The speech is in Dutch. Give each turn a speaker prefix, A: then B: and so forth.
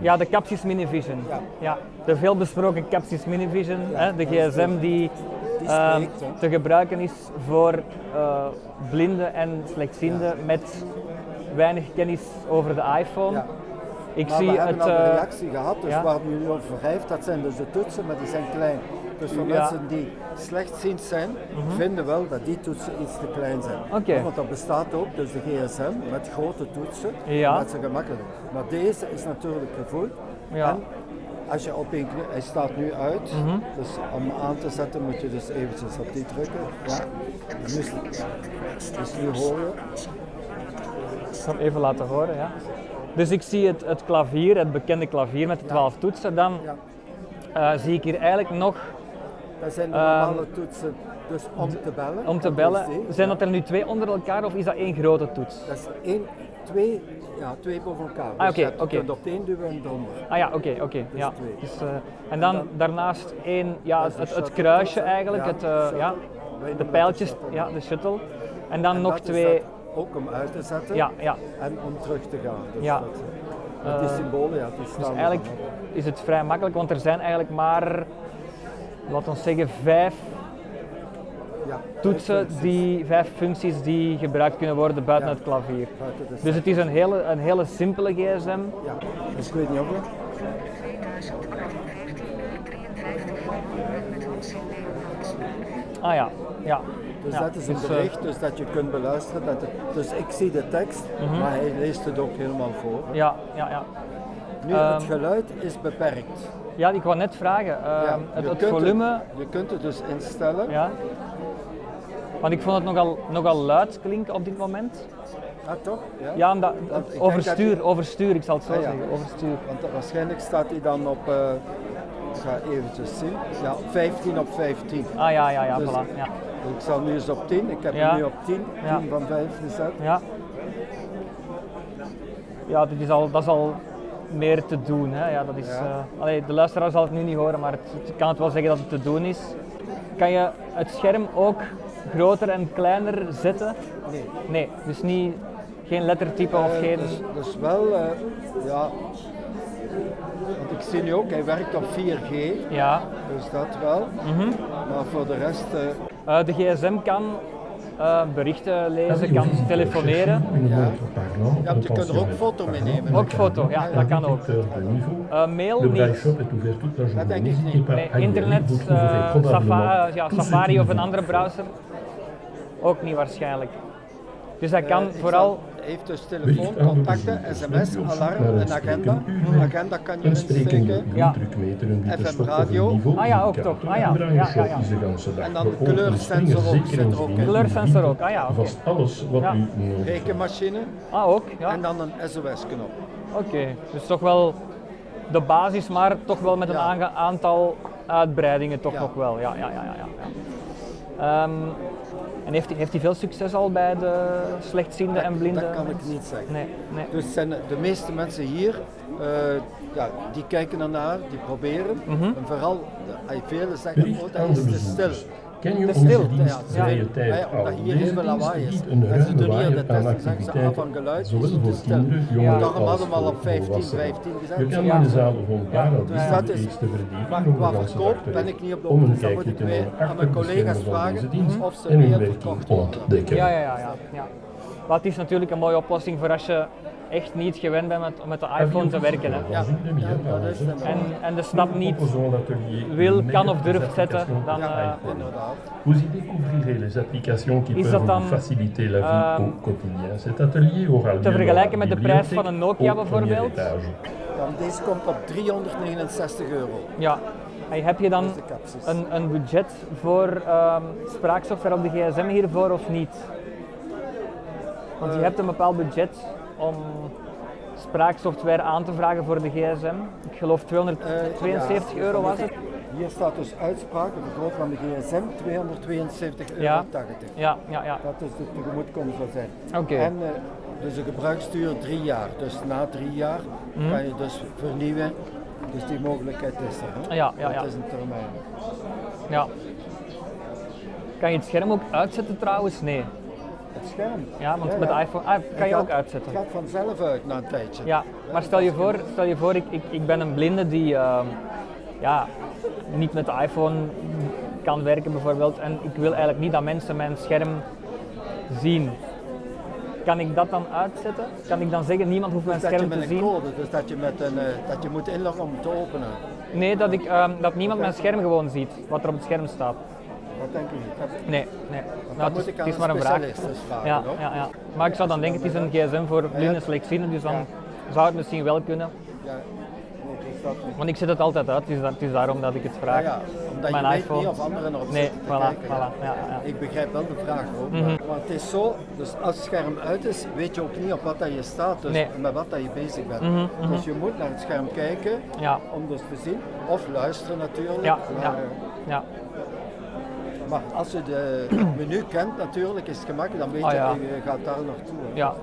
A: Ja, de Capsys Mini Vision.
B: Ja.
A: Ja. De veelbesproken Capsys Mini Vision,
B: Ja,
A: hè, de
B: dat is
A: gsm
B: de-
A: die,
B: Die
A: ehm,
B: spreekt, hè.
A: te gebruiken is voor eh, blinden en slechtzienden met weinig kennis over de iPhone.
B: Ja.
A: Ik
B: Maar
A: zie
B: we
A: het.
B: hebben al een
A: eh,
B: reactie gehad, dus
A: ja.
B: waar het nu over heeft, dat zijn dus de toetsen, maar die zijn klein. Dus voor
A: Ja. Mhm.
B: mensen die slechtziend zijn, vinden wel dat die toetsen iets te klein zijn.
A: Oké.
B: Ja, Want dat bestaat ook, dus de gsm met grote toetsen,
A: Ja.
B: dat ze gemakkelijk. Maar deze is natuurlijk gevoeld.
A: Ja.
B: En als je op één knop, hij staat nu uit,
A: Mhm.
B: dus om hem aan te zetten moet je dus eventjes op die drukken. Ja. Nu is- Dus nu hoor je.
A: Ik zal hem even laten horen, ja. Dus ik zie het, het klavier, het bekende klavier met de 12 toetsen. Dan
B: Ja.
A: eh, zie ik hier eigenlijk nog,
B: Dat zijn de normale toetsen, dus om te bellen.
A: Ehm, om te
B: dat is die.
A: bellen, zijn dat er nu twee onder elkaar of is dat één grote toets?
B: Dat is één, twee, ja, twee boven elkaar. Dus
A: Ah, oké,
B: je hebt- je
A: oké.
B: kunt op de één duwen en eronder.
A: Ah ja, oké, oké.
B: is
A: ja.
B: twee.
A: Dus, eh, en dan daarnaast één, ja,
B: Dus Dat is
A: Ah, het,
B: de
A: het,
B: shuttle
A: kruisje
B: toets, hè?
A: eigenlijk,
B: Ja, dus
A: het, eh,
B: shuttle.
A: ja,
B: Wij
A: de
B: noemen dat
A: pijltjes,
B: de shuttle.
A: ja, de shuttle. En dan
B: En
A: nog
B: dat is
A: twee,
B: dat, ook om uit te zetten
A: ja, ja. Dus
B: en om terug te gaan. Dus
A: Ja.
B: dat, met die symbolen, ja, die staan
A: Dus
B: er
A: eigenlijk
B: dan op.
A: is het vrij makkelijk, want er zijn eigenlijk maar, laten we zeggen, vijf
B: Ja,
A: toetsen, die, vijf functies die gebruikt kunnen worden buiten
B: Ja.
A: het klavier.
B: Buiten de
A: Dus het is een hele, een hele simpele gsm.
B: Ja, dus ik weet niet of je...
A: Ah ja, ja.
B: Dus
A: Ja,
B: dat is een
A: dus, eh,
B: bericht, dus dat je kunt beluisteren. Dat het- dus ik zie de tekst, maar hij leest het ook helemaal voor.
A: Mhm. ja, Ehm. ja, ja.
B: Nu, het geluid is beperkt.
A: Ja, ik wou net vragen. eh,
B: Ja,
A: het
B: je
A: het
B: kunt
A: volume,
B: je kunt het dus instellen.
A: ja. Want ik vond het nogal, nogal luid klinken op dit moment.
B: Ah, toch?
A: Ja, omdat,
B: Want ik denk
A: overstuur,
B: dat je-
A: overstuur, ik zal het zo
B: Ah, ja.
A: zeggen, overstuur.
B: Want dat- waarschijnlijk staat hij dan op, eh, ik ga eventjes zien, ja, 15 op 15.
A: Ah ja, ja, ja,
B: Dus-
A: voilà. Ja.
B: Ik zal nu eens op 10, ik heb
A: Ja.
B: hem nu op 10, 10
A: Ja.
B: van 5 gezet.
A: Ja, ja dit is al, dat is al meer te doen. Hè. Ja, dat is,
B: Ja.
A: eh, allee, de luisteraar zal het nu niet horen, maar het, het- ik kan het wel zeggen dat het te doen is. Kan je het scherm ook groter en kleiner zetten?
B: Nee.
A: Nee, dus niet, geen lettertype of
B: Eh,
A: geen...
B: dus, dus wel, eh, ja, want ik zie nu ook, hij werkt op 4G,
A: Ja.
B: dus dat wel.
A: Mhm.
B: Maar voor de rest, eh,
A: Eh, de gsm kan eh, berichten lezen, kan telefoneren.
B: ja, je kunt er ook foto mee nemen.
A: Ook foto, ja, dat kan ook. Eh, mail niet.
B: Dat denk ik niet.
A: Nee, internet, eh, Safa- ja, Safari of een andere browser, ook niet waarschijnlijk. Dus hij kan
B: Eh, ik
A: vooral,
B: zal- Hij heeft dus telefoon, contacten, sms, alarm,
C: eh,
B: een agenda. Een agenda kan je insteken.
A: Ja.
B: FM radio.
A: Ah ja, ook toch. Ah ja, ja, ja, ja.
B: En dan de kleursensor ook, zit er ook in.
A: Kleursensor ook, ah ja, oké.
C: Vast alles wat
A: Ja.
C: u nodig heeft.
B: rekenmachine
A: ah ook, ja,
B: en dan een SOS-knop.
A: oké. Dus toch wel de basis, maar toch wel met een
B: Ja.
A: aange- aantal uitbreidingen toch
B: Ja.
A: nog wel. Ja, ja, ja, ja. ja, ja. Ehm, en heeft hij heeft hij veel succes al bij de slechtzienden en blinden?
B: Dat kan ik niet zeggen.
A: Nee, nee.
B: Dus zijn de meeste mensen hier, eh, ja, die kijken ernaar, die proberen.
A: Mhm.
B: En vooral, de, velen zeggen, oh,
C: Bericht
B: dat
C: aan de
B: is te stil.
C: bezoekers. Ken je
A: Te
C: onze
A: stil.
C: dienst
B: Ja,
A: ja.
C: vrije
B: Maar ja,
C: tijd
B: omdat
C: al?
B: hier heel veel lawaai is.
C: biedt een
B: En ze
C: ruim
B: doen hier
C: waaier
B: de
C: aan
B: test, zeggen ze, ah,
C: activiteiten,
B: van geluid is
C: zowel
B: het te
C: voor
B: stil.
C: kinderen, jongeren
A: Ja.
B: Daarom
C: als
B: hadden we al
C: voor
B: op 15,
C: volwassenen.
B: 15 gezet.
C: Je kan
A: Ja.
C: in de zaal van Karel
A: Dus
C: ja.
B: dat
C: de
B: is-
C: eerste verdieping
B: Maar
C: nog
B: qua
C: de ganse
B: verkoop
C: dag terug
B: ben ik niet op de
C: om een
B: hoogte. Dan moet
C: kijkje te
B: ik weer
C: nemen
B: aan
C: achter
B: mijn
C: de
B: collega's
C: schermen van deze
B: vragen
C: dienst
B: of ze
C: en hun
B: meer
C: werking
B: verkocht worden.
C: ontdekken.
A: Ja, ja, ja. ja, ja. Maar het is natuurlijk een mooie oplossing voor als je echt niet gewend bent met, met de iPhone te werken. Hè.
B: Ja, ja, dat is inderdaad.
A: En, en de stap niet.
C: wil,
A: wil, kan of durft zetten, dan,
B: Ja,
A: eh,
B: inderdaad.
C: Vous y découvrirez les applications qui
A: Is
C: peuvent
A: dat dan,
C: vous faciliter la vie
A: ehm,
C: au quotidien. Cet atelier aura lieu dans la
A: vergelijken met de prijs
C: bibliothèque
A: van een Nokia
C: au premier
A: bijvoorbeeld?
C: étage.
B: Dan deze komt op 369 euro.
A: Ja. Hey, heb je dan
B: Dat is de capsus.
A: een, een budget voor ehm, spraaksoftware op de gsm hiervoor of niet? Want je
B: Eh.
A: hebt een bepaald budget om spraaksoftware aan te vragen voor de gsm. Ik geloof
B: Eh,
A: 272
B: ja,
A: euro
B: dan
A: was
B: moet
A: het.
B: ik- Hier staat dus uitspraak, het groot van de gsm, 272,80 euro.
A: Ja. Ja, ja, ja.
B: Dat is de tegemoetkomst van zijn.
A: Oké.
B: En eh, dus de gebruiksduur drie jaar. Dus na drie jaar
A: Hmm.
B: kan je dus vernieuwen. Dus die mogelijkheid is er. Hè?
A: Ja, ja, ja.
B: Dat is een termijn.
A: ja. Kan je het scherm ook uitzetten trouwens? Nee.
B: het scherm.
A: Ja, want met de iPhone ah, kan je
B: Het
A: ook
B: gaat-
A: uitzetten.
B: Het gaat vanzelf uit na een tijdje.
A: Ja, maar stel je voor, stel je voor ik, ik, ik ben een blinde die ehm, ja, niet met de iPhone kan werken bijvoorbeeld en ik wil eigenlijk niet dat mensen mijn scherm zien. Kan ik dat dan uitzetten? Kan ik dan zeggen, niemand hoeft mijn
B: Dus dat je
A: scherm
B: met
A: te
B: een
A: zien?
B: code, dus dat je, met een, eh, dat je moet inloggen om het te openen.
A: Nee, dat, ik, ehm, dat niemand mijn scherm gewoon ziet, wat er op het scherm staat.
B: Dat denk ik niet. Dat,
A: Nee, nee. Nou,
B: want dat
A: het is,
B: moet ik aan
A: het is maar een vraag.
B: specialist dus vragen.
A: Ja,
B: hoor.
A: ja, ja. Maar ik zou dan denken, het is een gsm voor blinden slechtzienden, dus dan zou het misschien wel kunnen.
B: Ja, nee, dus dat,
A: Want ik zet het altijd uit, dus dat- het is daarom dat ik het
B: ja,
A: vraag.
B: ja, omdat
A: Mijn
B: je weet
A: iPhone.
B: niet of anderen erop
A: Nee,
B: zitten te
A: voilà,
B: kijken.
A: voilà. Ja, Mhm. ja.
B: Ik begrijp wel de vraag hoor. Maar het is zo, dus als het scherm uit is, weet je ook niet op wat dat je staat, dus
A: Nee. Mhm,
B: met wat dat je bezig bent. Dus je moet naar het scherm kijken
A: Ja.
B: om dus te zien, of luisteren natuurlijk.
A: Ja,
B: maar,
A: ja,
B: eh,
A: ja.
B: Maar als je de- het menu kent natuurlijk, is het gemakkelijk, dan weet je,
A: Ah, ja.
B: je gaat daar naartoe. hè.
A: Ja.